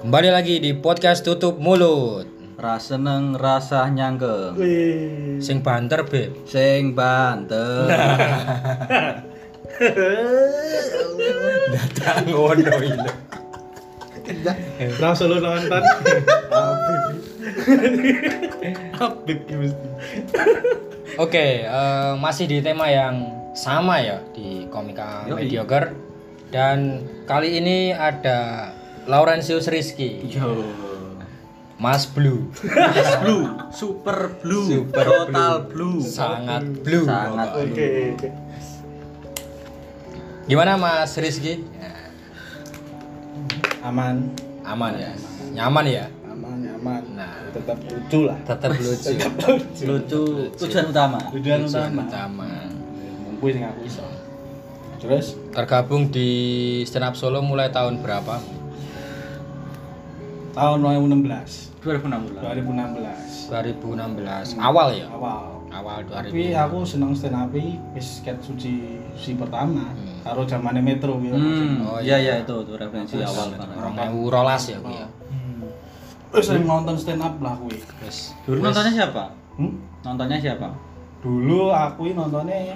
Kembali lagi di podcast tutup mulut. Ras seneng rasah nyanggeng. Wih. Sing banter beb. Sing banter. Datang ngono iki. Bravo solo nonton. Oke, eh, masih di tema yang sama ya di Komika Yoi. Mediocre dan kali ini ada Laurentius Rizky, Yo. Mas Blue, Blue, super blue, Super total blue. sangat blue. Sangat blue. Oke. Gimana Mas Rizky? Aman. Aman ya, nyaman ya. Aman, aman. Nah. Tetap lucu lah. Tetap lucu. Lucu, tujuan utama. Tujuan Tujuan utama. utama. Mungkin sing aku iso. Terus Tergabung di Stand Up Solo mulai tahun berapa? tahun 2016. 2016. 2016 2016 awal ya. awal. Awal 2000. Tapi aku seneng stand up wis ket suci si pertama Hmm. karo zamane Metro gitu. Hmm, Oh, iya iya. iya itu tuh referensi awal banget. Orang ewu rolas ya aku ya. Wis sering nonton stand up lah kuwi. Wis. Dulu Wis. nontonnya siapa? Hmm? Nontonnya siapa? Dulu aku nontonnya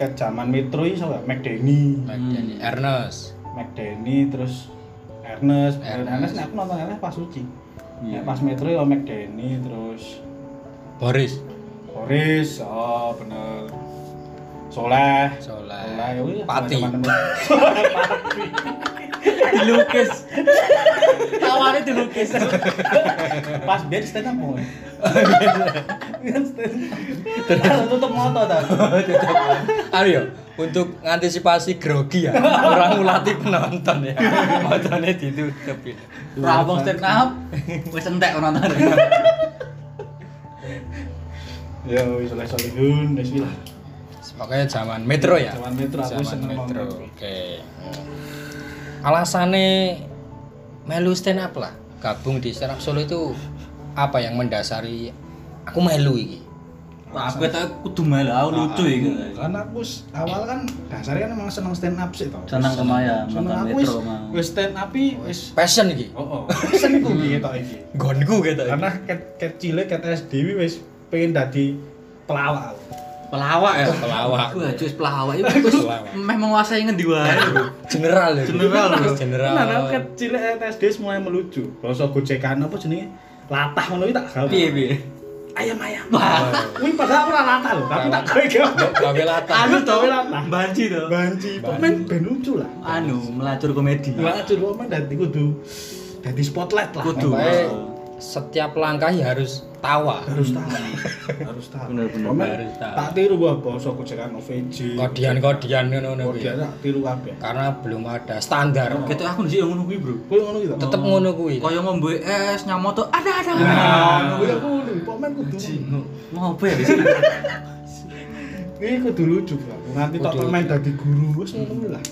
ket zaman Metro iso gak McDenny. Back then, Ernest. McDenny terus Ernest, Ernest. Ernest, nek aku nonton Ernest pas suci. Iya. Nek pas metro ya McDenny terus Boris. Boris, oh bener. Soleh, Soleh Soleh. ya wih, Pati. teman-teman. Dilukis. Awalnya dilukis. Pas biar stand up boy. Terus tutup moto ta. Ayo ya, untuk antisipasi grogi ya. Orang ngulati penonton ya. Matanya ditutup ya. Rabong stand up. Wis entek nonton. Ya wis Soleh Solihun, wis lah. Pokoknya zaman metro ya. Zaman metro aku Zaman seneng metro. nonton. Oke. Alasannya melu stand up lah. Gabung di stand up solo itu apa yang mendasari aku melu iki? Aku tak kudu malu, aku lucu ya, gitu. iki. Karena aku s- awal kan dasarnya kan emang seneng stand up sih to. Seneng kemaya Seneng nonton aku wis Metro mau. wis stand up i wis Passion iki. Oh, oh. Seneng tuh gitu iki. Gonku gitu. karena ket kecil ket SD wis pengen dadi pelawak Pelawak ya. Pelawak. Wah, jus pelawak itu wis Pelawak. meh menguasai ngendi wae. General ya. General. General. Nah, aku kecil ket SD wis mulai melucu basa gojekan apa jenenge latah ngono iki tak gawe Piye piye? ayam ayam Wah. kuwi padahal ora latah lho tapi tak gawe gawe Gawe latar. Anu to, Pelawak. banci to. banci pemain ben lucu lah Anu, melacur komedi. Wah, cur pemain dadi kudu dadi spotlight lah Kudu. Pokoknya setiap langkah ya harus tawa. harus tahu harus tahu Bener-bener, Pemain harus tahu. tak tiru wah basa gojekan OVJ Kodian-kodian ngono kuwi. kodian tak tiru kabeh Karena belum ada standar. Gitu aku sih yang ngono kuwi, Bro. kuwi ngono gitu Tetep ngono kuwi. Kaya ngombe es, nyamoto, ada ada. Ah. Nah, kuwi aku pemain kudu Ngopo ya di sini? Ini kudu lucu Bro. Nanti tak Kudu main dadi guru wis ngono lah.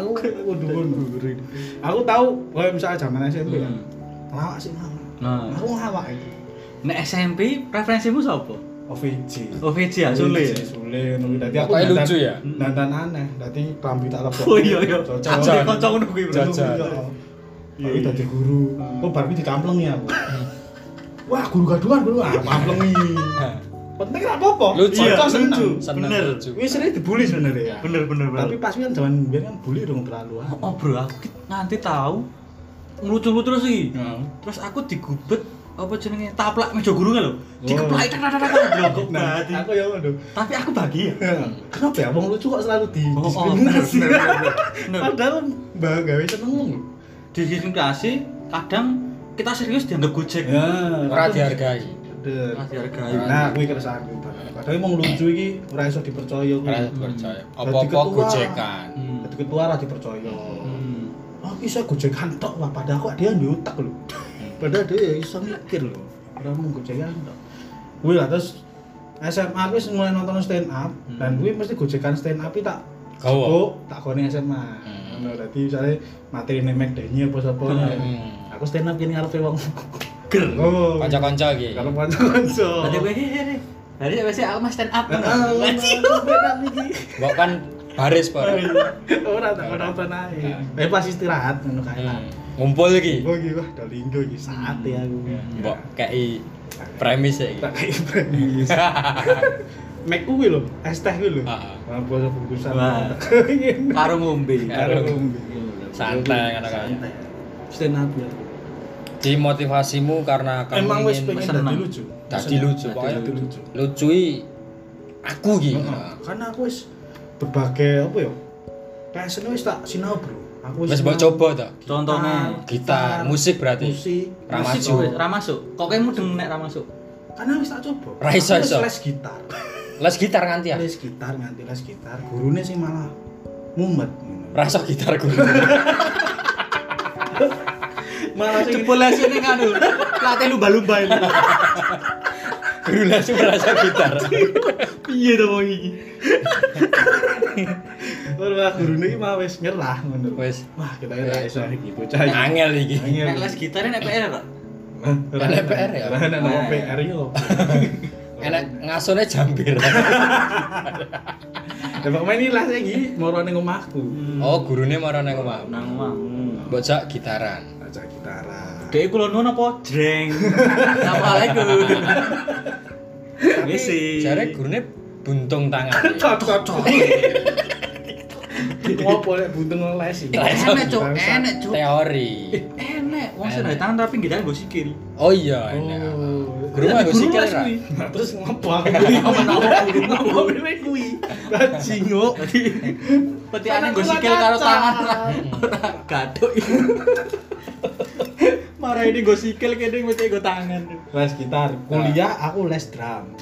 Aku kudu ngono guru. ini. Aku tahu kalau misalnya zaman SMP ya. Hmm. Lawak sih lawak. Nah, Aku lawak itu. nek SMP preferensimu sapa? OVJ. OVJ ya, Sule. OVJ, Oh, Sule ngono dadi aku Pokoknya dandan- lucu ya? Dandan aneh, dadi klambi tak lebok. Oh iya iya. Cocok. Jajan kocok ngono kuwi, Bro. Jajan. Iya, iya dadi guru. Kok bar iki dikamplengi aku. Hmm. Wah, guru gaduhan guru ah, kamplengi. Penting ra apa-apa. Lucu. Kocok Iya, seneng. lucu. Seneng Bener. lucu. Wis sering dibully sebenarnya ya. Bener bener bener. Tapi pas kan zaman biar kan bully dong terlalu ah. Oh bro, aku ki- nanti tahu ngelucu-lucu terus sih. Terus aku digubet apa jenenge taplak meja guru kan lho. Dikeplak tak tak tak tak blogok Iya, Nah, berarti. aku ya aduh. Tapi aku bahagia. Hmm. Kenapa ya wong lucu kok selalu di Oh, oh, diskriminasi? bener, bener, bener. Padahal mbak gawe seneng wong. Diskriminasi kadang kita serius dianggap gojek. Ya, Ora dihargai. bener. Nah, dihargai. Nah, kuwi keresahan kuwi. Padahal wong lucu iki ora iso dipercaya kuwi. Ora percaya. Dadi Apa-apa Hmm. ketua. gojekan. Hmm. Dadi ketua ora dipercaya. Hmm. Oh, iso gojekan tok lah padahal kok dia ndek otak lho. Hmm. Padahal dia ya iso mikir lho. Ora mung gojekan tok. Kuwi lah terus SMA aku wis mulai nonton stand up dan kuwi mesti gojekan stand up iki tak Hmm. Gawa. jebuk, tak kone SMA. Hmm. Ngono dadi misale materi nek McDenny apa sapa. Hmm. Aku stand up kene ngarepe wong. Ger. Oh. Kanca-kanca iki. Kalau kanca-kanca. Berarti gue hehehe. Berarti apa sih aku mas stand up. Heeh, Ngaji. stand up iki. Mbok kan baris baris Iya. Ora tak nonton ae. Eh pas istirahat ngono kae lah. Hmm. ngumpul iki Oh iki wah dah linggo iki saat ya aku. mbok kei premis ya iki tak kayak premis. Mek kuwi lho, es teh kuwi lho. Heeh. Nah, Basa bungkusan. Wah. karo ngombe Karo Karo ngombe. Iya. Santai, kata kaya. Santai. Stand up ya. jadi motivasimu karena kamu Emang wis ingin pengen seneng. dadi dadi lucu. lucu pokoknya Dadi lucu. lucui aku gitu Heeh. Karena aku wis berbagai apa ya? Passion wis tak sinau, Bro. Aku wis mbok sinau coba to contohnya gitar musik berarti Musik. Ra Musik masuk. wis, ra masuk. Kok kayak mudeng nek ra masuk? Karena wis tak coba. Ra iso, Aku wis iso. Les gitar. les gitar nganti ya Les gitar nganti les gitar. Gurune sih malah mumet ngono. rasa gitar gue Malah sing Jebol lesine kan lho. Latih lumba-lumba ini. guru langsung merasa gitar Piye to wong iki? Wah, gurune iki mah wis nyerah ngono. Wis. Nah, Wah, kita ya ra iso iki bocah iki. angel iki Angel. Nek les gitar nek PR kok. Hah? Ra- Enak PR ya? Ra enak nama Nah. PR yo. enak ngasone jambir Ya pokoknya ini lah saya gini, mau orang yang omahku oh gurune marane nang omah Hmm. nang omahmu. mbok jak gitaran Ajak gitaran Dek kula nuwun apa? Jreng. Assalamualaikum. Iya Misi. jare gurune buntung tangan Cocok Ngopo lek buntung les iki Enak cok, Bangsat. enak cok. teori Enak. Wong sing dari tangan tapi gitar mbok sikil. oh iya enak Oh. guru mah gue Guru sikil les ra kuwi. Nah, terus ngopo aku kuwi apa ngopo kuwi kuwi. Bajing yo. Petiane Tangan nggo gua sikil karo kacau. tangan ora ora gaduk. Marah ini gue sikil kene mesti gue tangan. Les gitar, kuliah aku les drum.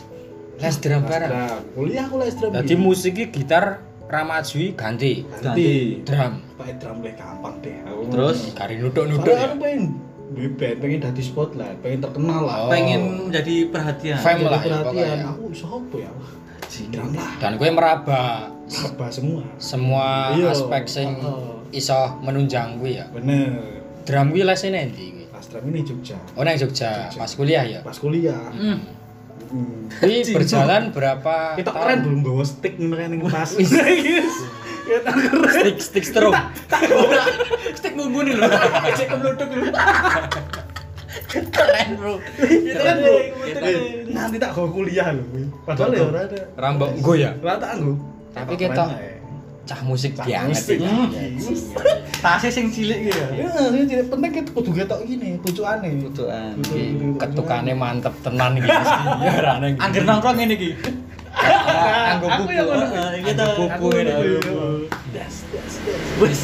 les drum Les bareng drum. Kuliah aku les drum. dadi musiknya gitar ramajui ganti nanti drum pakai drum lek gampang deh. Aku Terus? kari nuduk-nuduk Padahal ya aku pengen duwe band, pengen dadi spotlight, pengen terkenal lah. Oh. Pengen menjadi perhatian. Fam Jadi lah ya perhatian pokoknya aku sopo ya. Wah, Drum lah, dan gue meraba apa semua. semua Iya. aspek sing Oh. iso menunjang gue ya Bener. drum gue lesnya nanti gue Pas drum ini Jogja. oh nang Jogja Jogja. pas kuliah ya Pas kuliah. Hmm. Hmm. Ini berjalan berapa Kita tahun? keren belum bawa stick ngono kan yang pas. Wis. Kita kan keren. stick stick strum Ora, stek bumbu nih lho. Cek kemlutuk lho. Keren, Bro. Kita kan Bro. Eh, nanti tak go kuliah lho. kuwi. Padahal ya ora ada. rambok gue ya Ora tak anggo. Tapi Keren kita- ae. cah musik Cah banget musik. ya. Tasnya sing cilik gitu ya. Ya, ini jadi penting kita kudu ketok gini, pucuane. Pucukan. Iki ketukane mantep tenan iki mesti Iya, ya rane iki. Angger nongkrong ngene iki. anggo Aku yang buku Iya, ngono. Heeh, gitu. Aku Aku ini. Iya. ini. Das, das, das. Wes.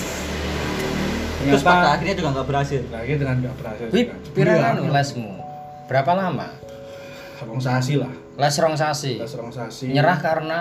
Terus Ternyata- pada akhirnya juga nggak berhasil. Lagi dengan gak berhasil. Iya, Wih, anu. pirangan lho lesmu. Berapa lama? Abang sasi lah. Les rong sasi. Kita serang sasi. Nyerah karena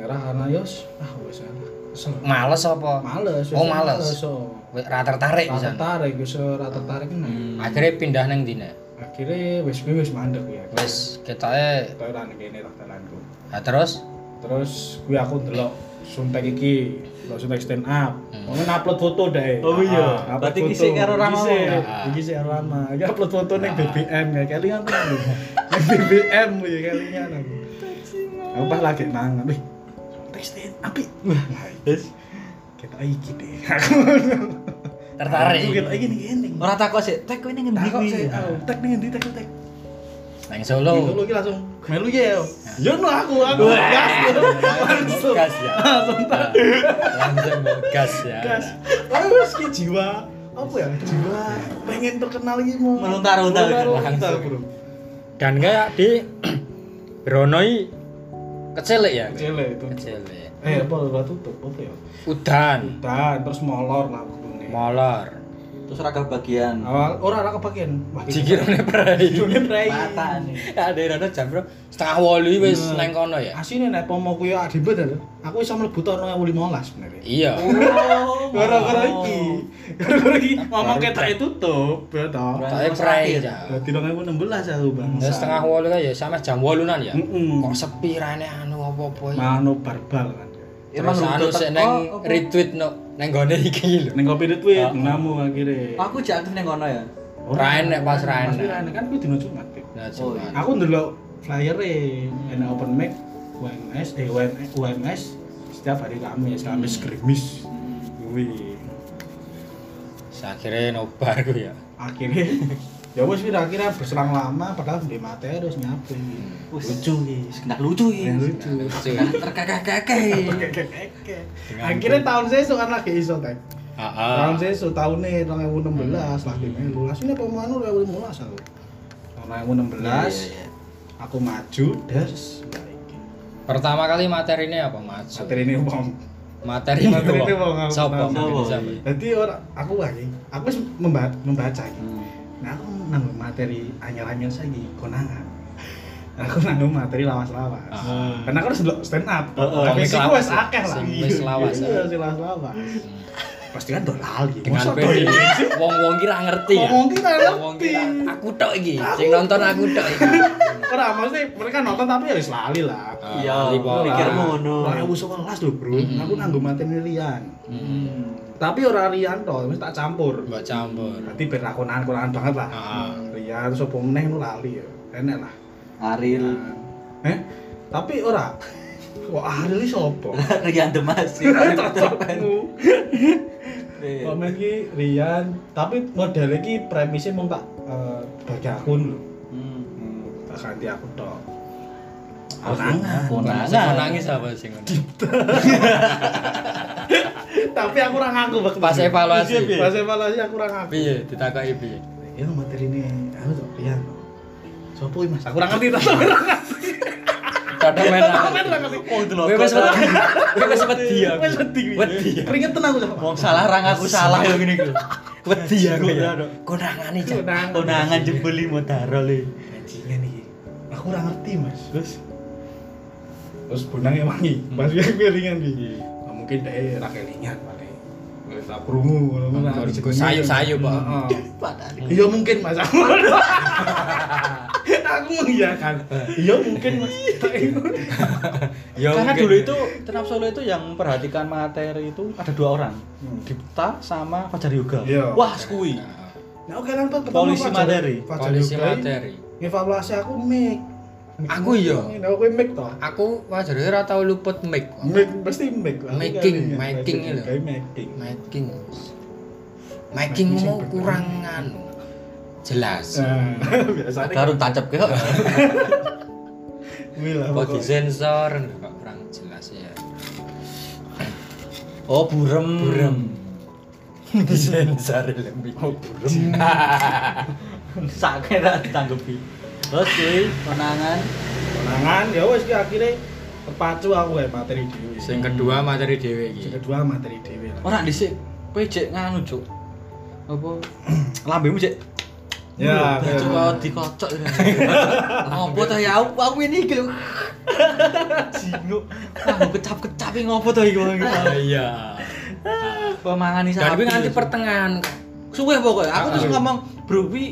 Nyerah karena yos. Ah, wes ya. Kesel. males apa? Males. wes Oh, ya, males. Eh, oh. Wih, Ra tertarik Ra pisan. tertarik, wes ora tertarik nih. Akhirnya pindah nang dina. nah. Akhirnya wes gue wes mandek ya. Wis ketoke Telan kene lah telanku. nah, terus Terus gue aku ndelok suntek iki, ndelok suntek stand up. Hmm. Ono upload foto dae. Oh iya. Ah, upload Berarti foto. kisih karo Rama Kisih. mau. Ah. Iki sik karo Rama. Iki upload foto ning BBM ya kelingan to. Ning BBM ya kelingan aku. Aku pas lagi mangan, wih. Suntek stand up. ih. Wah, Wes. kita iki deh. Aku aku tertarik. kita iki ning kene. Oh, Ora takok sih, Nah. tek kowe ning ngendi Tak kok kuwi? sik, aku tek ning endi tek tek. Nang Gitu Solo. lho, iki langsung melu ya. Yo no aku aku. Gas. Langsung. Gas ya. Nah, Langsung gas ya. gas aku wis ki jiwa apa ya jiwa pengen terkenal iki mau Meluntar-luntar. meluntar-luntar Langsung. bro dan kayak di Bronoi kecil ya kecil ya itu kecil ya. eh apa udah tutup apa ya udan udah terus molor lah kudune molor Terus ora kebagian. awal ora ora kebagian wah jikirane perai jone prei Mata nih. ada rada jam bro setengah wolu wis Hmm. neng kono ya asine nek pomo kuwi adibet ya, lho aku iso mlebu tahun 2015 sebenarnya iya Hmm. Oh, gara-gara oh. iki gara-gara iki ngomong ketok tutup ya toh tapi Terus perai akhir. ya dadi 2016 aku bang Terus setengah wolu kan ya sama jam wolunan ya Mm-mm. kok sepi rane anu apa-apa ya mano barbal kan terus Emang lu anu sik teko neng apa? retweet no neng gone iki lho ning kopi retweet Ah. namu akhirnya Aku jak aktif ning kono ya. Ora enak pas ra Pasti enak. ra enak, kan kuwi dino Jumat. Pip. nah Oh, cuman Aku ndelok flyer e enak open mic UMS eh UMS UMS tiap hari Kamis, Kamis gerimis. Hmm. Wih. Akhirnya nobar gue ya. Akhirnya ya wis wir, akhirnya berserang lama padahal beli materi terus nyapu. Hmm. lucu guys nggak lucu Ya, guys lucu. nggak terkekeh Kekekeke. Akhirnya tahun sesuk kan lagi iso kan. Heeh. Tahun sesuk tahunnya 2016 lagi melu. Asline pemain 2015 aku. Tahun Iya, 2016 aku maju das balik. Pertama kali materinya apa, Mas? Materi ini uang Materi Materi itu ini wong aku Sopo? tahu. Materi Sopo? siapa? Jadi orang aku lagi, aku wis memba- membaca iki. Nah, aku nanggung materi anyar-anyar saiki konangan. Aku nanggung materi lawas-lawas. Ah. Karena aku harus delok stand up. Heeh. Tapi Komik sih aku lawas, wis akeh lah. sing wis lawas, Iya, sing lawas-lawas. Pasti kan do ya. lali. Hmm. Dengan Masa PD. do- Wong-wong ki ra ngerti ya. Wong-wong ki ra Wong-wong ki ra- ngerti. Aku tok iki. Sing nonton aku tok iki. Ora maksudnya mereka nonton tapi ya wis lali lah. Ah, Iya, Hmm. Lipo. pikirmu ngono. 2011 lho, Bro. Mm-mm. Aku nanggung materi lian. Heeh. Tapi ora rian to, wis tak campur. Mbak campur. Berarti ben ra konangan-konangan banget lah. Heeh. Rian terus apa meneh nu lali ya. Enak lah. Aril Eh, tapi ora. Kok Ariel iki sapa? Rian Demas Cocokmu. Iya. Iya. Komen iki Rian, tapi model iki premisnya mung tak eh, bagi akun lho. Hmm. Tak ganti aku tok. Konangan. Sing nangis apa sing ngono? tapi aku ora ngaku Iya. bak Pas evaluasi. Iya, Pas evaluasi aku ora ngaku. Piye ditakoki piye? Ya materi ini aku tok Rian. Sopo iki Mas? Iya. Aku ora ngerti tak ora ngerti. Kadang main Aku ora ngerti. Oh, itu Kowe wis wedi. Kowe wis wedi ya. Wes wedi kuwi. Wedi. Keringetan aku sama. Wong salah rang aku salah ya, yo ngene iki. Wedi aku ya. Iya, dok. Konangane Cak. Konangan. Konangan jebeli modaro le. anjingan nih aku ora ngerti mas terus terus bonangnya wangi mas biar piringan di nah, mungkin dia rakelingan paling Wis tak krungu ngono Nah, gue ya. sayup-sayup, Pak. Hmm. Padahal. Iya mungkin Mas. Aku Aku mengiyakan. Iya mungkin Mas. Ya Karena mungkin. dulu itu Tenap Solo itu yang memperhatikan materi itu ada dua orang, Hmm. Dipta sama Fajar Yoga. Iya. Wah, kui. Nah, Nah, oke kan Pak. Polisi materi. Polisi materi. Evaluasi aku mik. Aku iya. Nah, aku mik toh. Aku wajar ora tau luput mic. Mik pasti mik. Aku Making, kali ya, making pasti lho. kayak Making. Making. Makingmu kurang anu. Jelas. Eh, Nah, biasanya Baru tancap ke. Wih lah, Kok pokoknya. disensor kok kurang jelas ya. Oh, burem. Burem. Disensor lebih. Oh, burem. Sakit ra ditanggepi. Terus kui konangan. Konangan ya wis ki akhirnya kepacu aku kayak materi dhewe. Sing Sing iya. Oh, kedua materi dhewe iki. kedua materi dhewe lah. Ora dhisik kowe jek nganu, Cuk. Apa lambemu jek iya, Ya, kayak- coba dikocok ngopo ta ya aku aku ini iki lho jinguk aku kecap-kecap iki ngopo ta iki wong Ah, iki Iya. pemangani Dan sapi kuwi nganti ya, Cuk. pertengahan. suwe pokoknya aku terus Ah. ngomong bro wi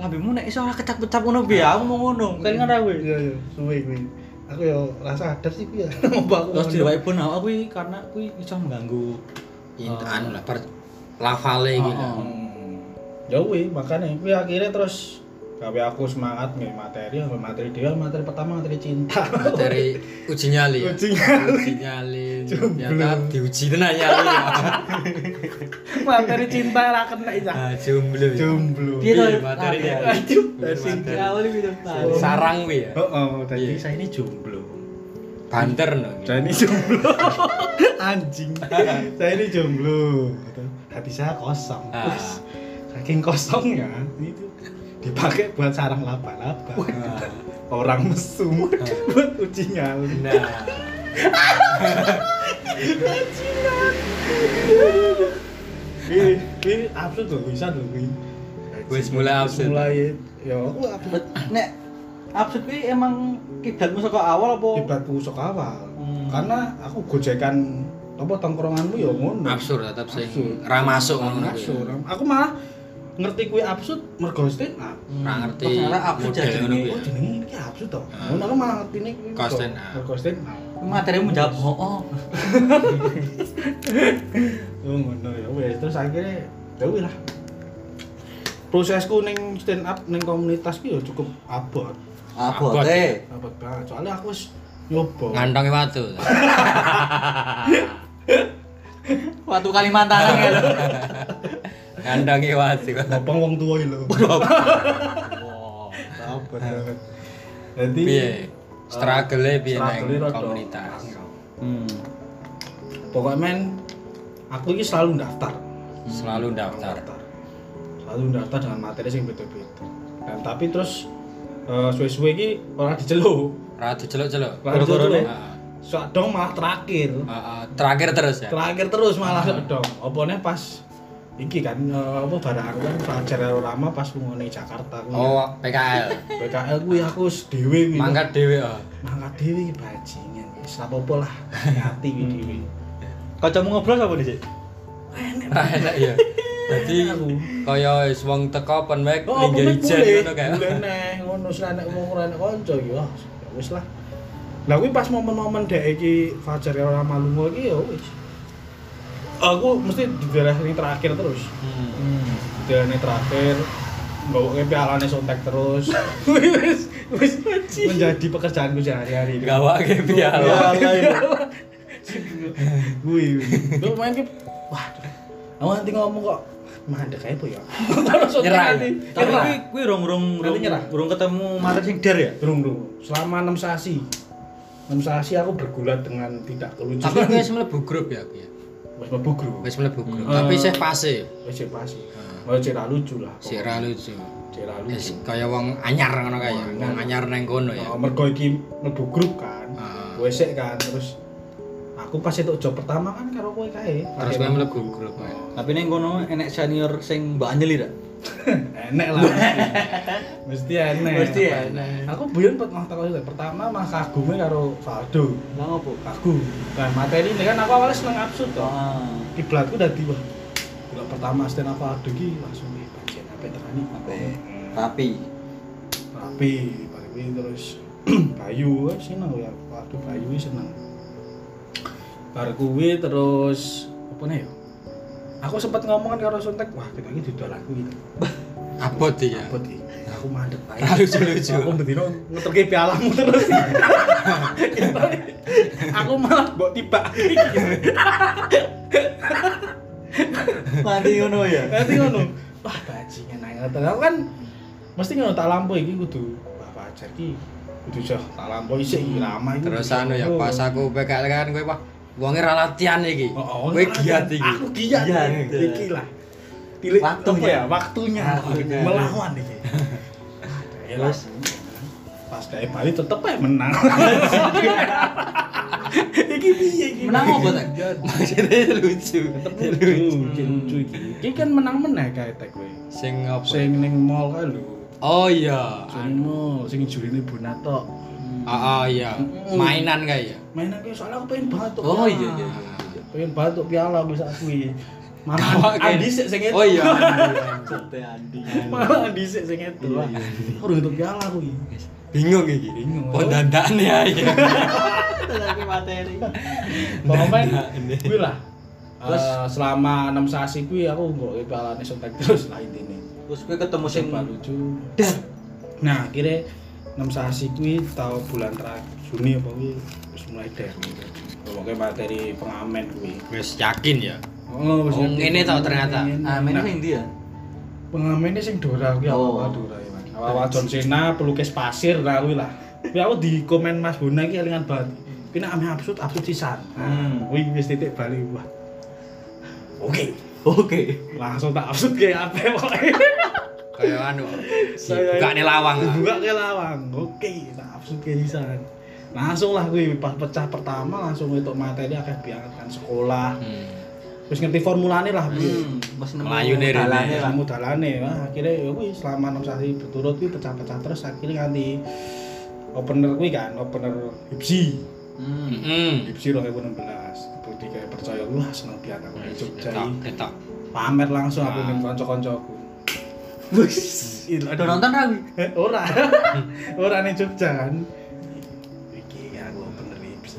lambemu nek iso ora kecap-kecap ngono piye aku mau ngono kan ngono kowe Iya, iya, suwe kuwi. Aku ya rasa sadar sih kuwi ya. Ngomong aku. terus diwai pun aku kuwi karena kuwi iso mengganggu Oh, Itu Ah. anu lah per lafale gitu. iki lah. Hmm. Ya kuwi makane kuwi akhirnya terus gawe aku semangat nih materi, nggak materi dhewe, materi pertama materi cinta. Materi uji nyali. ya? Uji nyali. Uji nyali. Jomblo. Ternyata diuji tenan nyali. ya. materi cinta ra kena isa. Ah, jomblo. ya. Jomblo. Piye Iya, to materi. materi Aduh, Bener, dari materi. awal iki to Pak. Oh. Sarang kuwi ya. Oh, oh, tadi Iya. saya ini jomblo. Banter no. Saya ini jomblo. Anjing. saya ini jomblo. Gitu. Hati saya kosong. Ah. Terus saking kosongnya itu dipakai buat sarang laba-laba. Ah. Orang Ah. mesum buat uji nyali. Nah. Ini ini absurd loh bisa loh ini. Wis mulai absurd. Mulai ya aku absurd. nek absurd kuwi emang kiblatmu saka awal apa Tiba-tiba sok awal. Hmm. Karena aku gojekan apa tongkronganmu ya ngono. Absurd tetap sing Absurd. ra masuk ngono. Orang kuwi. absurd. Aku malah ngerti kue absurd mergo stand up. Ra ngerti Hmm. Terus akhirnya absurd model jadi ngono ini. kuwi. Oh jenenge iki absurd to. Ah. Ngono aku malah ngerti nih kuwi. Kau to. stand up. Kau stand up. materimu jawab oh Oh ngono ya wes terus akhirnya ya wis lah. Prosesku ning stand up ning komunitas ki ya cukup abot. Abot. abote Abot banget. Soalnya aku wis nyoba. Ngantongi watu. Waktu Kalimantan ya lho. Kandangi wati. Ngopong wong tua iki lho. Wow. Sabar banget. Jadi Piye? Struggle-e piye struggle-e nang rada- komunitas. Hmm. pokoknya men aku ini selalu daftar. Selalu daftar. Selalu daftar dengan materi yang beda-beda. Dan tapi terus eh, suwe-suwe ini orang diceluk. Ra diceluk-celuk. Orang diceluk. Ah, ah. Sok dong malah terakhir. Ah, ah. Terakhir terus ya. Terakhir terus malah sok dong. Opone pas iki kan eh, apa barang aku kan pelajar lama pas ngene Jakarta aku. Oh, PKL. PKL kuwi aku wis dhewe kuwi. Mangkat dhewe. ah. mangkat dhewe iki bajingan. Wis ra apa lah, hati Hmm. kuwi dhewe. Kacamu ngobrol apa dhisik? Ra enak ya. Dadi kaya wis wong teko open mic Oh, apa linggih ijen mek boleh? ngono kae. Boleh neh, ngono sing anak wong ora anak kanca ya. ah, Ya wis lah. Lah kuwi pas momen-momen dek iki Fajar ya ora malungo iki ya wis. Aku mesti di daerah ini terakhir terus. Hmm. Hmm. Di daerah ini terakhir bawa pialane sontek terus. wis wis menjadi pekerjaanku sehari-hari. Gawake Ya, piala. ya. Gue, gue main ke, wah, aku nanti ngomong kok mandek aja po ya. Nyerah. Tapi Nyerah. kuwi kuwi rong rong rong Nanti nyerah. rong ketemu materi sing der ya. Durung durung. Selama enam sasi, enam sasi aku bergulat dengan tidak keluncuran. Tapi aku wis mlebu grup ya aku ya. Wes mlebu grup. Wis mlebu grup. Hmm. Tapi isih pase. Wes sik pasi. Mau cek ra lucu lah. Sik ra lucu. Cek ra Wis lucu. kaya wong anyar ngono kae ya. Wong anyar nang kono ya. Oh, mergo iki mlebu grup kan. Ah. Gue sik kan terus aku pas itu job pertama kan karo kowe kae. Terus kowe mlebu grup kae. Tapi ning kono enek senior sing Mbak Anjeli ra. enek lah mesti enek Mesti ya, enek. aku buyan pet mah takut juga. pertama mah kagumnya karo Valdo Lah ngopo? kagum kan materi ini kan aku awalnya seneng absurd toh Ah. kiblatku dadi wah kalau pertama stand up Valdo ki langsung di bagian apa terani apa Tapi rapi balik ini terus Bayu eh, seneng ya Valdo Bayu ini seneng bar kuwi terus apa nih yo aku sempat ngomongan karo Suntek wah kita ini didol aku gitu Abot ya. Apa di? Aku mandek bae. Ra lucu-lucu. Aku bendino ngeterke pialamu terus. aku malah Iya. mbok tiba. mati ngono ya. Nanti ngono. Wah, bajingan nang ngoten. Aku kan mesti ngono tak lampu iki kudu wah pacar iki kudu jauh tak lampu isih iki lama iki. Terus anu ya pas aku PKL kan kowe wah wonge ra latihan iki. Heeh. Kowe giat iki. Oh, Aku giat. eh, Giat. eh. Iki lah. Tilik Waktunya. apa ya, waktunya Waktunya. melawan iki. Ya Terus? pas dari Bali tetep ae menang. iki piye iki? Menang apa tak? Ah. Maksudnya lucu. lucu, lucu iki. Iki kan menang-menang kae tek kowe. Sing apa? Sing ning mall kae lho. Oh iya. Sing mall, sing jurine Bonato. Ah ah, iya. Mainan kae ya. Mainan kae soalnya aku pengen banget tuh. Oh piala. iya iya. iya. Pengen banget tuh piala aku sak kuwi. Malah Gawake. Andi sik sing itu. Oh iya. Sate Andi. Malah Andi sik sing itu. Iya, Wah, Aku Oh, udah tuh piala kuwi. Bingung iki. Oh, ya, Bingung. Kok dandakne ae. Lagi materi. Pokoknya ya. kuwi lah. Terus selama 6 sasi kuwi aku nggak pialane sontek terus lah intine. Terus gue ketemu sing Sing lucu. der. Nah, akhirnya 6 sasi kuwi tau bulan terakhir Juni apa kuwi wis mulai der. Pokoknya materi pengamen kuwi. Wis yakin ya. Oh, Oh, ngene tau ternyata. Ah, Nah, meneh sing ndi ya? pengamen ini sing Dora kuwi Oh. awal Dora ya. Awal John Cena pelukis pasir nah kuwi lah. Kuwi aku di komen Mas Bona iki elingan banget. Kuwi nek ame absurd absurd sisan. Hmm. Kuwi wis titik balik wah. Oke, Oke. langsung tak absurd kayak apa pokoknya. Kaya anu. Saya- Bukane lawang. lah. Dibuka ke lawang. Oke, tak absurd kayak sisan. Langsung lah kuwi pas pecah pertama langsung itu materi akeh biarkan sekolah. Hmm. Terus ngerti formulane lah. kuwi. Hmm, mas nemu Melayu nih, Rene. dalane ya lah. kamu dalane wah akhirnya ya kuwi selama enam sasi berturut kuwi pecah-pecah terus akhirnya nganti opener kuwi kan opener Hipsi Hmm. Hmm. Hipsi 2016 Budi kayak percaya wah seneng banget aku di Jogja Ketok, ini. ketok. pamer langsung aku Ah. ning kanca-kancaku Wis. Ih, Udah aduh. nonton ra kuwi? Eh, ora ora ning Jogja kan iki aku opener Hipsi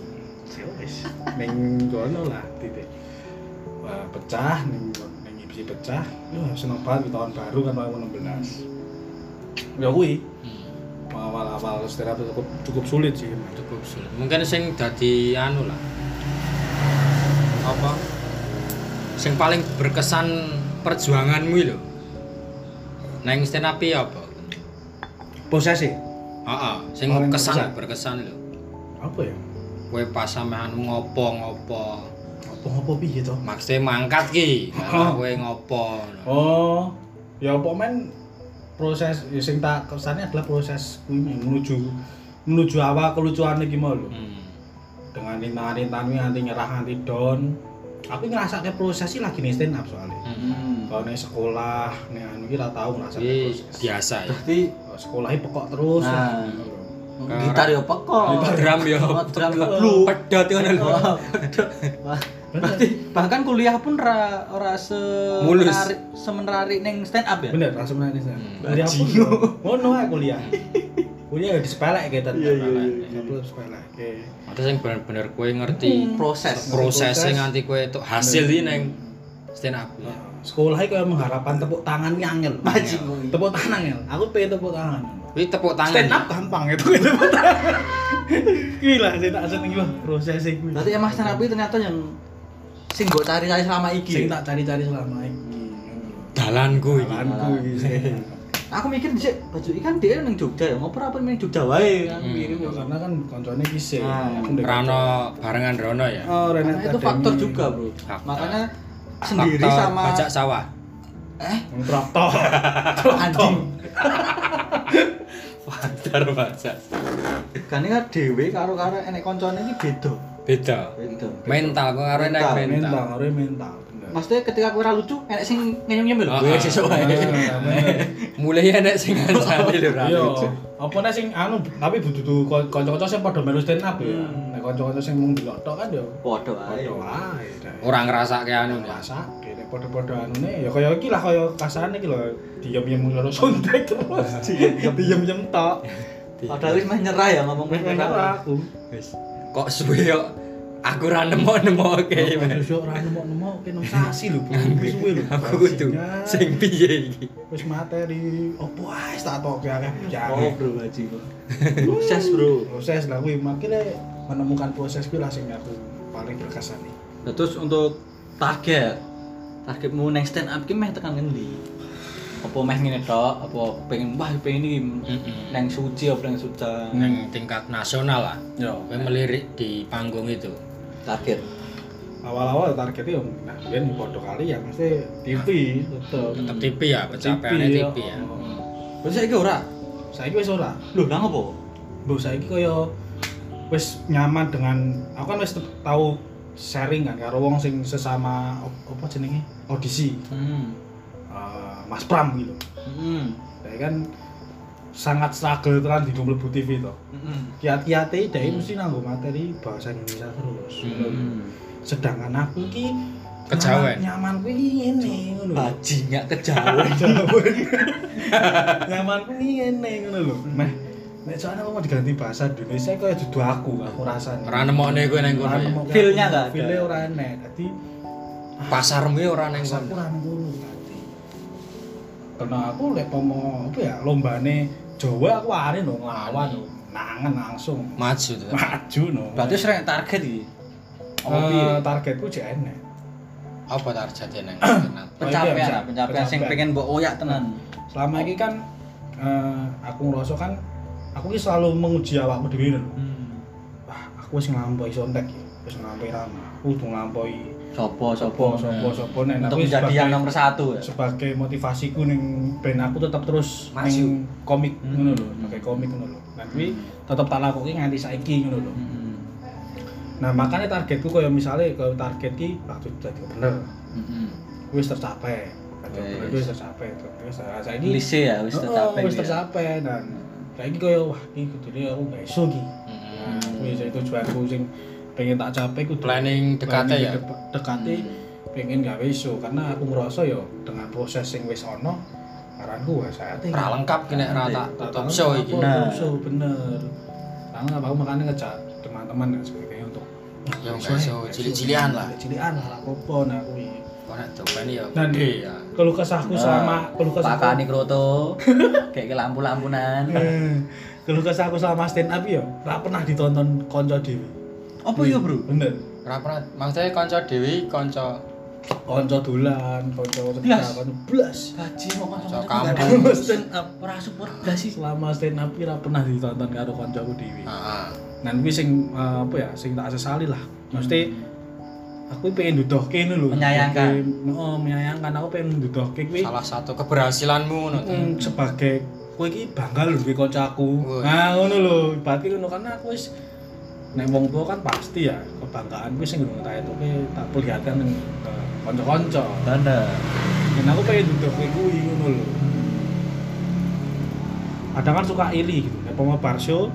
Ya wis ning kono lah titik Wah, pecah ning ning Hipsi pecah wah seneng banget di tahun baru kan 2016 ya kuwi Hmm. awal-awal terapi cukup cukup sulit sih Cukup sulit. Mungkin sing dadi anu lah. Apa? sing paling berkesan perjuanganmu lho. Neng stand up ya apa? posesif Heeh, sing Paling kesan berkesan lho. apa ya Kowe pas sampean ngopo-ngopo. apa-apa piye to Maksudnya mangkat ki, malah kowe ngopo. ngono. oh ya apa men proses ya, sing tak kesannya adalah proses kuwi men, menuju menuju awal kelucuan iki mau lho Hmm. dengan rintangan-rintangan kuwi nganti nyerah nganti down aku ngerasa proses sih lagi nih stand up soalnya Hmm. kalau nih sekolah nih anu kita tahu ngerasa Iki proses biasa ya. Berarti Oh, sekolahnya pekok terus Nah. gitar ya pekok. Gitar drum ya. Oh, Drum ya. Lu pedot ngono lho. Oh, bener. Wah, Berarti bahkan kuliah pun ra ora se Mulus. menarik- semenarik ning stand up ya. bener langsung nangis ya Hmm. kuliah pun ngono ae kuliah kuliah ya disepelek gitu Iya, iya, iya, iya. disepelek oke Ada sing bener-bener kowe ngerti Hmm. Proses. prosesnya Proses. nganti kowe itu hasil iki neng stand up. ya. sekolahnya kayak mengharapkan tepuk tangan ki angel Majing kuwi. tepuk tangan angel aku pengen tepuk tangan Iki tepuk tangan. ya? ya. stand up gampang itu tepuk tangan gila sih tak seneng gua proses sih Berarti emang stand up itu ternyata yang sing gue cari-cari selama sing iki. tak cari-cari selama ini dalanku iki. jalanku gitu Aku mikir dhisik baju ikan dia ning Jogja ya, ngoper apa ning Jogja wae kan Hmm. mikir gua. karena kan koncone kisih Ah. Rano barengan Rono ya. oh Renat Karena itu Academy. faktor juga, Bro. Faktor. Makanya sendiri Faktor sama pajak sawah. eh Traktor. anjing. Faktor pajak. Bukannya kan dhewe karo karo enek koncone iki beda. Beda. Beda. Mental kok arep naik Mental, mental. mental harus mental bener. Maksudnya ketika kowe ora lucu, enek sing nyenyum-nyenyum lho. Ah, ah. Kowe sesuk Ah, wae. bener. Mulai enek sing ngancani lho ra. Iya. Apa nek sing anu tapi butuh kanca-kanca sing padha melu stand up ya. Hmm. Ah, iya. Nek kanca-kanca sing mung delok tok kan ya Padha wae. padha wae. Ora ngrasake anu ya. Rasake nek padha-padha anune ya kaya iki lah kaya kasarane iki lho diam-diam karo suntik terus. Ah, iya, Diam-diam tok. Padahal wis mah nyerah ya ngomong wis Ora nyerah. aku. Wis. Kok suwe yo aku ra nemu-nemoke. men. Wis ora nemu-nemu kene sasi lho Bu. Wis suwe lho. Aku kudu Bajingan. sing piye iki? wis materi opo ae tak toke akeh Oh, bujang. Bro Haji. Sukses, Bro. Proses lah kuwi makine menemukan proses kuwi lah sing aku paling berkesan nih. Nah, terus untuk target targetmu neng stand up ki meh tekan ngendi? Apa meh ngene tok? Apa pengen wah pengen iki Mm-mm. neng suci apa neng suca? Neng tingkat nasional lah. Yo, Kowe melirik di panggung itu. target. awal-awal targetnya yang nah biar di podo kali ya mesti TV tetep Tetep TV ya, pencapaiannya TV ya. Wis Hmm. saiki ora. saya wis ora Lho, nang apa? lho saiki kaya wis nyaman dengan aku kan wis tahu sharing kan karo wong sing sesama op- apa jenenge audisi Hmm. Eh, Mas Pram gitu Hmm. saya kan sangat struggle tekan di mlebu TV to Hmm. kiat-kiate dhewe Hmm. mesti nganggo materi bahasa Indonesia terus Hmm. sedangkan aku ki Kejawen. nyaman, nyaman kuwi ngene ngono lho. Bajingan kejauhan. Jawaban. Nyamanku iki ngene ngono lho. Hmm. Meh nek soalnya aku mau diganti bahasa Indonesia kaya dudu aku aku rasane. Ora nemokne kowe neng kono Ora ya. nemokne aku. Feel-nya nggak ada. Feel-nya ora enek. Dadi Pasarmu ya ora neng aku kono. ora nang kono dadi. Karena aku lek pomo apa ya lombane Jawa aku are no nglawan no. nangen langsung Maju Iya. tuh. maju no. Berarti sering target iki. Apa Eh, piye? targetku jek enek. Apa targetnya neng kono? Pencapaian, lah, pencapaian sing Pencapaian. pengen mbok oyak tenan. Selama ini kan eh, aku ngerasa kan aku ini selalu menguji awakku dhewe lho. Hmm. wah aku wis nglampaui sontek ya wis nglampaui rama kudu nglampaui Sopo, sopo sopo. sopo sopo nek Untuk aku menjadi sebagai- yang nomor satu ya. sebagai motivasiku ning ben aku tetap terus Maju. ning komik Hmm. ngono lho sebagai komik ngono lho nah kuwi tetep tak lakuki nganti saiki ngono lho Hmm. nah makanya targetku kaya misalnya kaya target ki waktu dadi bener Hmm. wis tercapai Dadi Wis. bener wis tercapai wis tercapai Nah, saiki Lise ya wis Heeh, tercapai. Oh, wis ya. tercapai dan saiki kaya wah iki kudune aku gak iso iki nah kuwi sing tujuanku sing pengen tak capai kudu Planning dekatnya ya. dekatnya Hmm. Mm. pengen gawe iso karena aku ngerasa ya dengan proses sing wis ono ya karanku wis saatnya Ora lengkap ki nek ora tak tutup show iki. Nah. nah show bener karena apa aku makanya ngejak teman-teman dan sebagainya untuk Ya enggak iso cilik-cilian lah. cilian lah apa nah kuwi Kok nek dobane ya Dan- gede ya. keluh kesahku sama keluh kesahku Pakani kroto. Kayak lampu-lampunan. Eh, keluh kesahku sama stand up ya tak pernah ditonton konco dewi Iya. Apa ya, Bro? bener Ora pernah maksudnya kanca dhewe kanca konco dolan, konco Blas. tekan blas. Baji kok Cok masuk kampung. Selama stand up, Ora support blas sih. selama stand up ora pernah ditonton karo koncoku dhewe. Heeh. Nah, kuwi sing eh, apa ya, sing tak sesali lah. Mesti aku pengen dudohke ngono lho. Menyayangkan. Pengen- Oh, menyayangkan aku pengen dudohke kuwi Salah satu keberhasilanmu ngono. mm, sebagai kowe iki bangga lho duwe Woi. kancaku. Nah, ngono lho, berarti ngono karena aku wis nek wong tua kan pasti ya kebanggaan kuwi sing ngono tak etoke tak perlihatkan ning ke kanca-kanca. Tanda. Dan aku pengen duduk kayak gue ngono lho. Kadang kan suka iri gitu. Nek pomo barso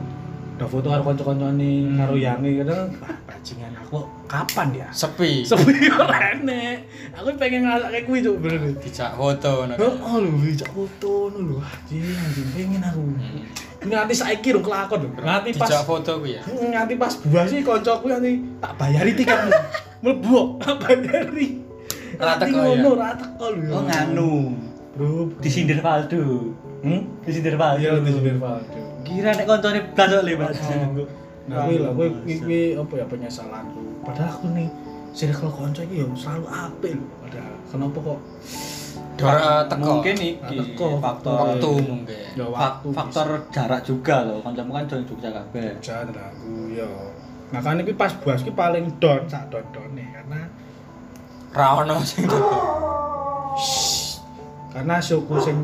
udah foto karo kanca-kancane, karo yange kadang ah bajingan aku kapan ya? Sepi. Sepi ora enek. Aku pengen ngrasake kuwi cuk bener. Dijak foto ngono. Oh, oh lho, dijak foto ngono lho. Anjing, anjing pengen aku. Nganti saiki rong kelakon lho. Nganti pas Hmm. Dijak foto kuwi ya. Hmm, nganti pas buah sih kancaku nanti tak bayari tiketmu. Mlebu kok, tak bayari. Ra Nanti teko ya? ngono, ra teko lho. Oh nganu. Bro, Disindir Valdo. Hmm? Disindir Valdo. Iya, di sini Valdo. Kira nek koncone blas kok lebar. Nah, kuwi lho, kuwi kuwi- kuwi apa ya penyesalanku. Padahal aku nih circle kanca iki ya selalu apik lho padahal. Kenapa kok Dora teko. Mungkin iki Teko. faktor waktu mungkin. ya fak- waktu faktor jarak juga loh. Kancamu kan jauh Jogja kabeh. hujan lah aku ya. Makanya kuwi pas buas kuwi paling don sak don-done karena Ra ono sing teko. karena suku sing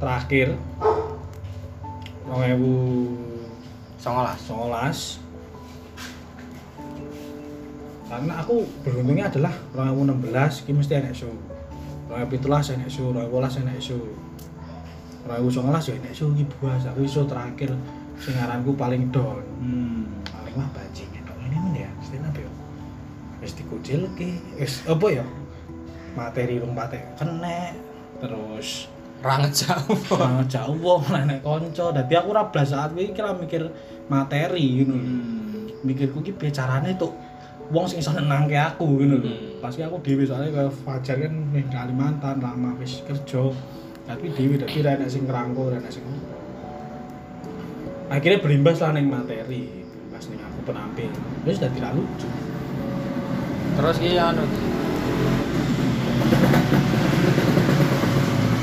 terakhir 2000 19. Solas. Karena aku beruntungnya adalah 2016 ki mesti enek show. 2017 enek show, 2018 enek show. 2019 ya enek show iki buas, aku iso terakhir sing ngaranku paling down. Hmm. Paling mah bajingan dong ini men ya, stand up ya. Wis dikucilke, wis apa ya? Materi rung patek kene terus Ra ngejak apa. banget jauh wong lah nek kanca. Dadi aku ora blas saat kuwi kira mikir materi ngono. mikirku ki piye carane tok wong sing iso nenangke aku ngono lho. Hmm. Pasti aku dhewe soalnya kaya Fajar kan ning Kalimantan lama wis kerja. Tapi dhewe dadi ra enak sing ngrangkul, ra enak sing Akhirnya berimbas lah ning materi, berimbas ning aku penampil. Wis dadi ra lucu. Terus ki anu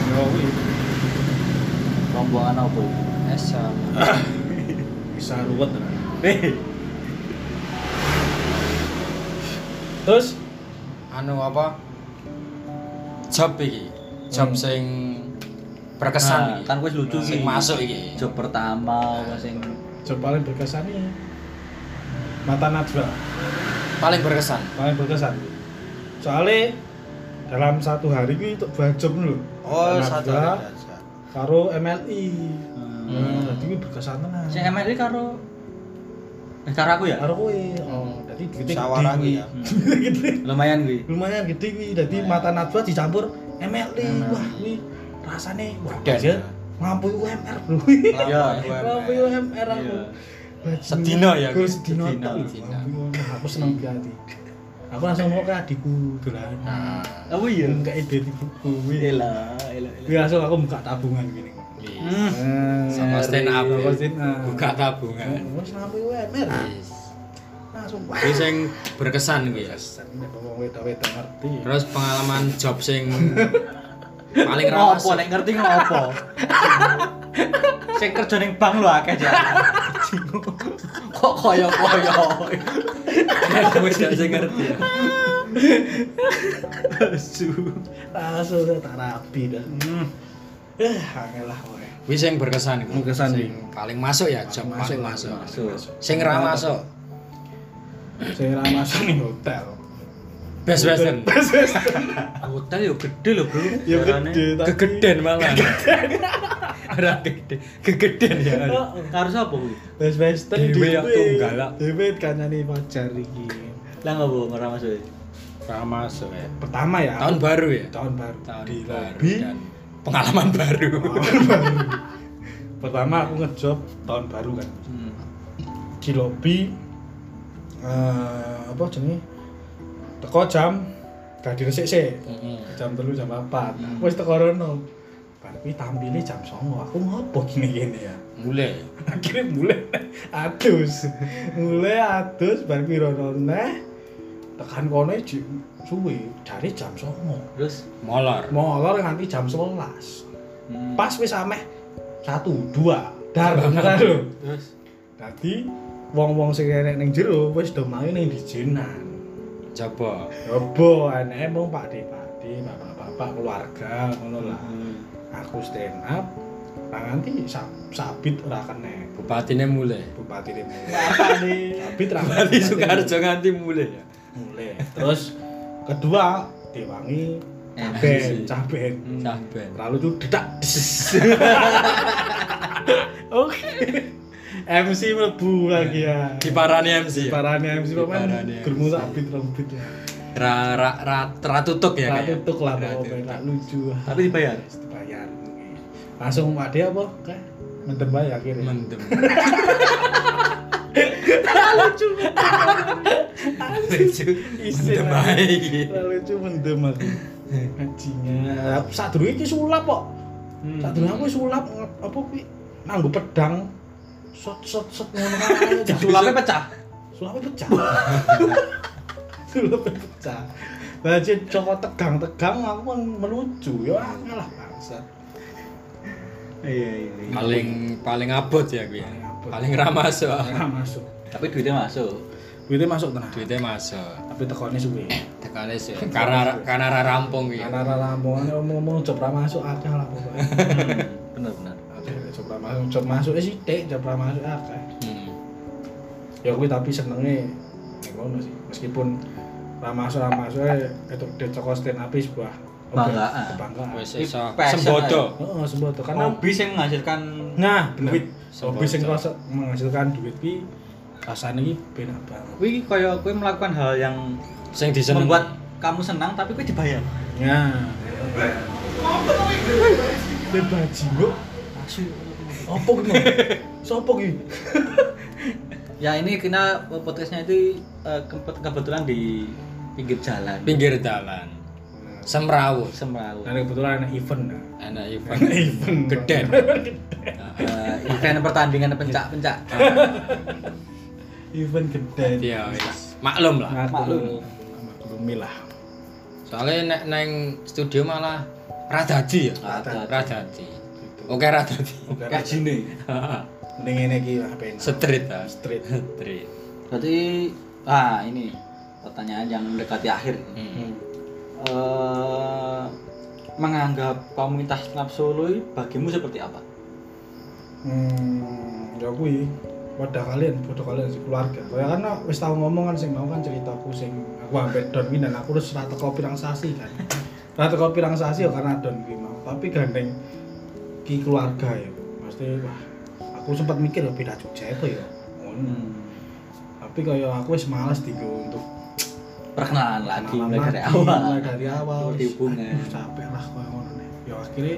Ya kuwi Rombongan apa? iki? esa. bisa ruwet lah. Eh. Heh. Terus Anu apa? Job iki. Job Hmm. sing berkesan Nah, kan wis lucu sing iki. masuk iki. Job pertama apa sing job paling berkesan nih mata Najwa Paling berkesan. paling berkesan. Soalnya dalam satu hari kuwi tok dua job lho. Oh, Mata Najwa, karo MLI. ya. Hmm. Hmm. Dadi kuwi berkesan tenan. Sing MLI karo eh karo aku ya? Karo kowe. Oh, dadi duwite Musyawarah gede kuwi kuwi. ya. Lumayan kuwi. Lumayan gede kuwi. Dadi mata najwa dicampur MLI. Hmm. MLI. Wah, kuwi rasane wah Dan. aja ngampui UMR bro. Iya, Ngampui UMR aku. Iya. Bajingan. Sedina ya, Gue kuwi. sedina Sedina, tok. sedina. Ngampui UMR. Aku seneng banget. Aku langsung mau ke adikku dolan. Nah, Apa iya? Enggak ide di buku. kuwi. Elah, elah, elah. Kuwi langsung aku buka tabungan gini. iya. Hmm. Sama stand up. Iya. Eh, Sama ya. stand up. Buka tabungan. Wes ngampui UMR. Yes. Oh, Langsung wah. Kuwi sing berkesan kuwi ya. Sering nek wong wedok-wedok ngerti. Terus pengalaman job sing paling rawas. Ngopo nek ngerti ngopo? Sing kerja ning bank lho akeh ya. Kok koyo-koyo. Aku wis gak sing ngerti. ya. Su. Langsung udah tak rapi dah. Hmm. Eh, angel lah kowe. Kuwi sing berkesan kuwi. Berkesan, Sing iya. paling masuk ya job paling masuk. Sing ra masuk. Saya ra masuk nih hotel. Best western. Best Western. Hotel yo gede lho, Bro. Ya Jarane. gede tapi. Kegeden malah. Ora gede, kegeden ya. Oh, Karo sapa kuwi? Best Western Dewe ya tunggal lah. Dewe kancane Fajar iki. Lah ngopo ora masuk? ya? Ra masuk ya. Pertama ya. Tahun baru ya. tahun baru. Tahun di baru lobby. dan pengalaman baru. Tahun baru. Pertama aku ngejob tahun baru kan. Hmm. Di lobby eh apa jenenge? Teko jam gak diresik-sik. Heeh. jam telu jam empat aku wis teko rono tapi tampilnya jam songo aku ngopo gini gini ya Mulai. akhirnya mulai adus mulai adus bar piro rono neh tekan kono ji- suwe dari jam 09.00. Terus molor Molor nganti jam 11. hmm, Pas wis ameh 1 2 dar beneran lho. terus Dadi wong-wong sing enek ning jero wis do main ning dijenan. coba Robo eneke mung Pak Di Pak Di, bapak-bapak keluarga ngono lah. Hmm. Aku stand up nah nanti sab- sabit ora kene bupatine mulai bupati ini Apa nih? sabit ra Bupati kene. Sukoharjo nganti mulai ya mulai terus kedua diwangi Eh, caben sih. Hmm. caben cah ben lalu tuh dedak desis. oke MC mlebu lagi ya diparani MC ya parane MC pemain Diparani germu MC. sabit rambut ya ra ra ra, ra tutuk ya kayak Ra tutuk lah Ra pokoknya tutuk. ra lucu tapi dibayar. bayar langsung Pak Dia apa kayak mendem bae akhirnya mendem lucu mendem ae iki Lalu itu mendem aku. Anjingnya. Sadurunge iki sulap kok. Hmm. Sadurunge aku sulap nge- apa kuwi nganggo pedang shot shot shot ngono kae. Sulapnya pecah. Sulapnya pecah. Sulapnya pecah. Lah jadi cokot tegang-tegang aku kan melucu ya ngalah bangsat. Iya iya. iya. paling paling abot ya kuwi ya. Paling abot. paling ra masuk Ora masuk. Tapi duitnya masuk. Duitnya masuk tenang. duitnya masuk Tapi tekone suwe. tekane sih karena karena ra rampung iki Karena lamongan ngomong-ngomong jopra masuk akeh lah pokoknya. Hmm. Bener-bener. Ada jopra masuk, jop masuk eh sithik, jopra masuk akeh. Hmm. ya gue tapi senengnya yang ngono sih meskipun ramasu ramasu eh itu dicokok stand up sebuah Kebanggaan. kebanggaan wis Ini iso passion sembodo oh sembuh tuh karena Hobi yang menghasilkan nah Duit. duit hobi sing kerasa menghasilkan duit pi rasanya ini benar banget Wih, kayak gue melakukan hal yang sing diseneng membuat kamu senang tapi gue dibayar. nah lebar jinggo opo gitu sopo gitu Ya ini kena podcastnya itu eh, ke- kebetulan di pinggir jalan. pinggir dalan semrawut Semrawut. nah ini kebetulan ada event nah anak event Ada event geden Eh, event pertandingan pencak-pencak. event Nah, gede ya wis maklum lah Iya, maklum maklumi lah soalnya nek neng studio malah radadi ya Radadi. radadi oke radadi Oke, Kajine. Oh, mending ini iki lah penak. street lah street street Berarti ah ini pertanyaan yang mendekati akhir. Hmm. Eh, menganggap komunitas stand up Solo ini bagimu seperti apa? Hmm, ya kuwi wadah kalian, bodoh kalian si keluarga. Kaya karena wis tau ngomong kan sing mau kan ceritaku sing aku hampir don kuwi dan aku terus rata kopi pirang sasi kan. Rata kopi pirang sasi ya karena don kuwi mau. Tapi gandeng ki keluarga ya. Pasti wah aku sempat mikir ya pindah Jogja itu ya. Hmm. Ngono. Tapi kaya aku wis males digo untuk Perkenalan lagi kenalan mulai dari lagi, mulai awal. dari awal Seperti Terus, hubungan. aduh, capek lah kaya ngono nih ya akhirnya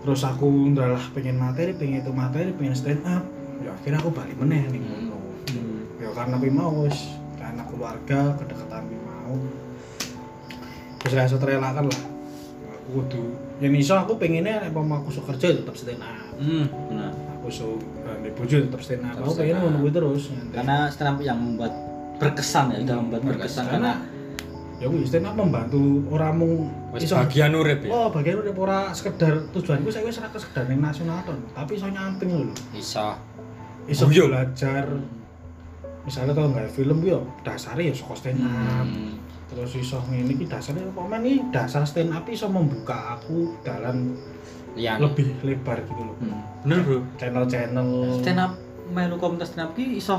terus aku ndalah pengen materi pengen itu materi pengen stand up ya akhirnya aku balik meneh nih ngono Hmm. ya karena aku mau wis karena keluarga kedekatan aku mau terus rasa terelakkan lah aku kudu yang iso aku pengennya nek mama aku iso kerja ya tetap stand up Hmm, benar. aku iso eh, di bojo tetap stand up Tetap aku stand pengen up. ngono kuwi terus nyantai. Karena stand up yang membuat berkesan ya, Hmm, udah membuat berkesan karena ya wis stand up membantu orang mau wis bagian urip ya Oh, bagian udah ora sekedar tujuanku saya wis ora sekedar ning nasional ton, tapi iso nyamping lho. iso Oh, Iso Guyon. belajar. Misalnya kalau nggak film yo dasarnya ya saka stand Hmm. up. Hmm. Terus iso ngene iki dasarnya apa men iki dasar stand up iso membuka aku dalam liyan lebih lebar gitu loh. Hmm, bener bro. Channel-channel Stand up melu komunitas stand up ki iso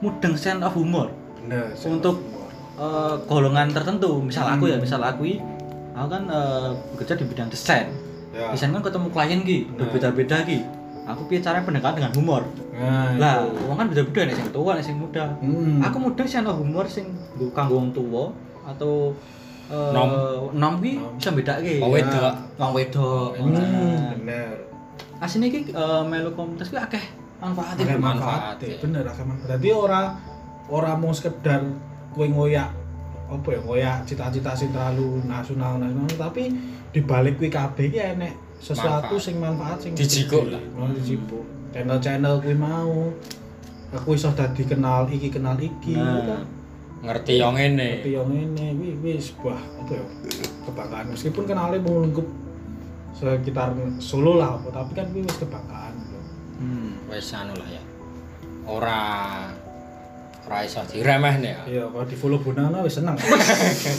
mudeng sense of humor. bener channel untuk- humor. eh, golongan tertentu misal aku Hmm. ya misal aku i- aku kan eh, bekerja di bidang desain ya. desain kan ketemu klien ki Nah. berbeda-beda ki aku piye caranya pendekatan dengan humor Nah, lah itu. wong kan beda-beda nih yang tua nih yang muda Hmm. aku muda sih ada humor sing nggo kanggo wong tua atau eh, Nom. nom ki Nom. bisa beda ki Oh, wedok. wong wedok Hmm, Nah, bener. asine ki eh, melu komunitas ki akeh e, manfaatnya akeh Akeh manfaat manfaate. bener akeh manfaat dadi ora ora mau sekedar kowe ngoyak apa ya ngoyak cita-cita sing terlalu nasional nasional tapi di balik kuwi kabeh iki enek sesuatu Manfaat. sing manfaat sing Dijikuk gede. lah. Hmm. Oh, dijikuk channel-channel kuwi mau aku iso dadi kenal iki kenal iki Nah. gitu kan. ngerti yang Tapi ini yang ini kuwi kuwi sebuah apa ya? kebanggaan meskipun kenalnya mau lengkap sekitar Solo lah apa, tapi kan kuwi wis kebanggaan lho. Hmm. wes anu lah ya ora ora iso diremehne ya Iya, kalau di follow Bonana wis seneng.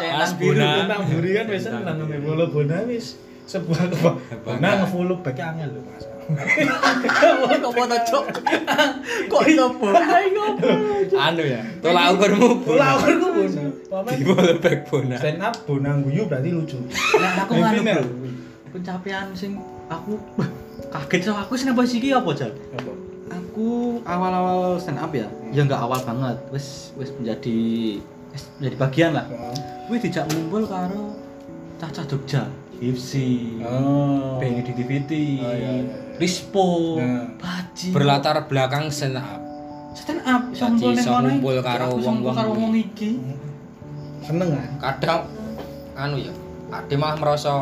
Mas Biru Bona tentang Buri kan wis seneng di follow Bonana wis sebuah kebanggaan. Bonana nge-follow back angel lho Mas. Kok foto cok? Kok iso anu ya tolak ukurmu Lah Bona aku Bonana. di back Bona Stand up Bonang guyu berarti lucu. Nah, aku nganu Devina. bro. Pencapaian sing aku kaget sama aku sing apa sih iki apa jal? Apa? Aku awal-awal stand up ya. Ya enggak awal banget. Wis wis menjadi wis menjadi bagian lah. Wis dijak ngumpul karo cacah Jogja. Hipsi, Oh. Bengi Ditivity, Oh, iya, iya. Rispo, Nah. Baji, berlatar belakang stand up stand up, iso Baji ngumpul ning iso kono iki. ngumpul karo Aku iso ngumpul wong-wong karo iki. wong iki. Seneng ah. kan? kadang anu ya ade malah merasa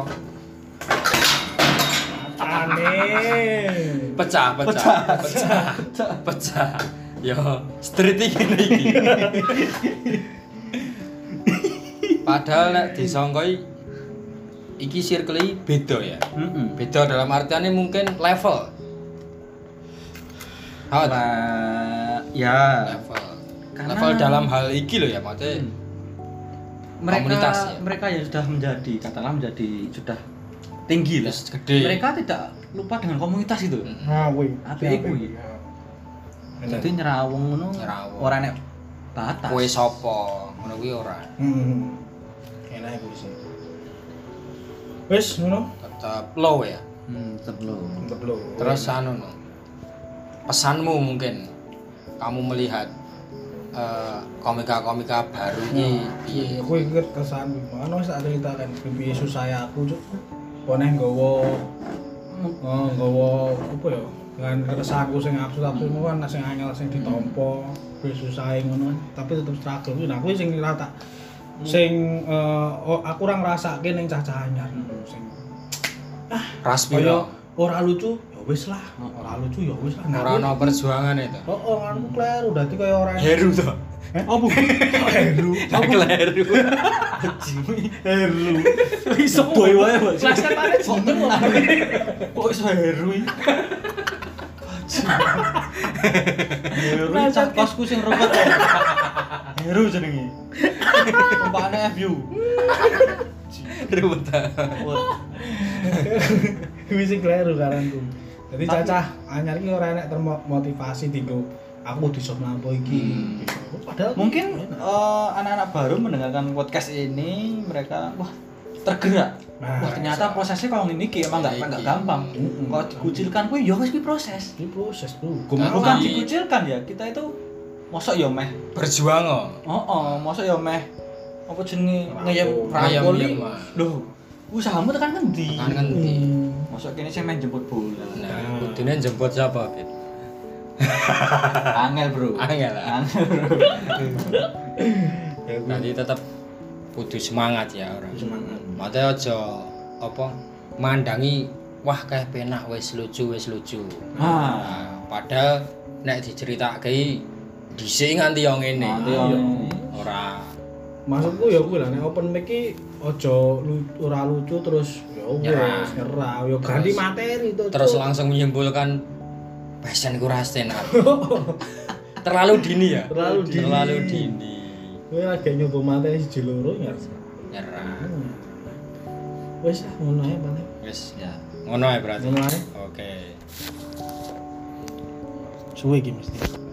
Aneh. pecah pecah pecah pecah, pecah. yo street iki ngene iki padahal nek disangkai iki circle beda ya Heeh. beda dalam artiannya mungkin level Hah, Ya, level Karena- level dalam hal iki loh ya maksudnya Hmm. mereka Komunitas, ya? mereka yang sudah menjadi katakanlah menjadi sudah tinggi lah Wis gede Hmm. mereka tidak lupa dengan komunitas itu Hmm. Ngawe. Apa iku iki? jadi nyerawung ngono Nyerawung. orang nek batas kue sopo ngono kuwi ora Hmm. Enak iku sih. Wis ngono. tetap low ya hmm, tetep lo Mantep lho. Terus anu no. Pesanmu mungkin kamu melihat eh, komika-komika baru ini piye? Iya, aku inget kesan mana wis tak cerita kan bibi susah aku cuk. Poneh nggawa oh nggawa apa ya? Kan keresahanku sing aku tapi mau kan sing angel sing ditompo, wis susah ngono, tapi tetep struggle. Nah, aku sing rata Hmm. sing eh, oh, aku ora ngrasake ning cah-cah anyar Hmm. sing Raspiro. kaya ora lucu ya wis lah, ora lucu ya wis lah. Nah, Ora ono perjuangan itu. Oh, oh, aku kleru dadi kaya ora Heru to. Eh, Apa? Kleru. Nah, kleru. Kleru. iso boy wae Mas. Kelas katane jeneng kok. kok iso heru iki? Heru iki cah kosku sing robot ya. Heru jenenge. Tempatane FU. Heru ta. Kuwi sing kleru karanku. Dadi cacah anyar iki ora enek termotivasi dienggo aku kudu iso mlampau iki. Hmm. Hmm. Padahal Mungkin eh, anak-anak baru mendengarkan podcast ini mereka wah tergerak. Nah, wah, ternyata prosesnya kalau ini kayak emang nggak Iki. nggak gampang. Mm-mm. Kalau dikucilkan kuwi ya wis kuwi proses. iki proses tuh. Aku Bukan kan- dikucilkan ya, kita itu mosok ya meh. Berjuang oh. Oh, oh mosok ya meh. Apa jenenge Rangkul. ngeyem rangkul Ngeyem-ngeyem, iki. Mas. Loh, usahamu tekan ngendi? Kan ngendi. Hmm. Mosok kene sing main jemput bola. Nah, kudune jemput siapa, Bit? Angel, Bro. Angel, ah. Angel, Bro. Nanti tetap kudu semangat ya orang. semangat. Mate aja apa mandangi wah kayak penak wis lucu wis lucu. Ah. Nah, padahal nek diceritake dhisik nganti yo ngene. Nanti yang- Ora Ah, Maksudku ya kuwi lah nek open mic iki aja lu- ora lucu terus ya Nyerah. wis nyerah ya ganti Terus- materi tuh. terus Cuk. langsung menyimpulkan passion ku rasten Terlalu dini ya? Terlalu dini. Terlalu dini. Kuwi lagi nyoba materi siji loro nyerah. Nyerah. Hmm. Wis lah ngono ae paling. Wis Ya. ngono ya berarti. Ngono ae. Oke. Suwe iki mesti.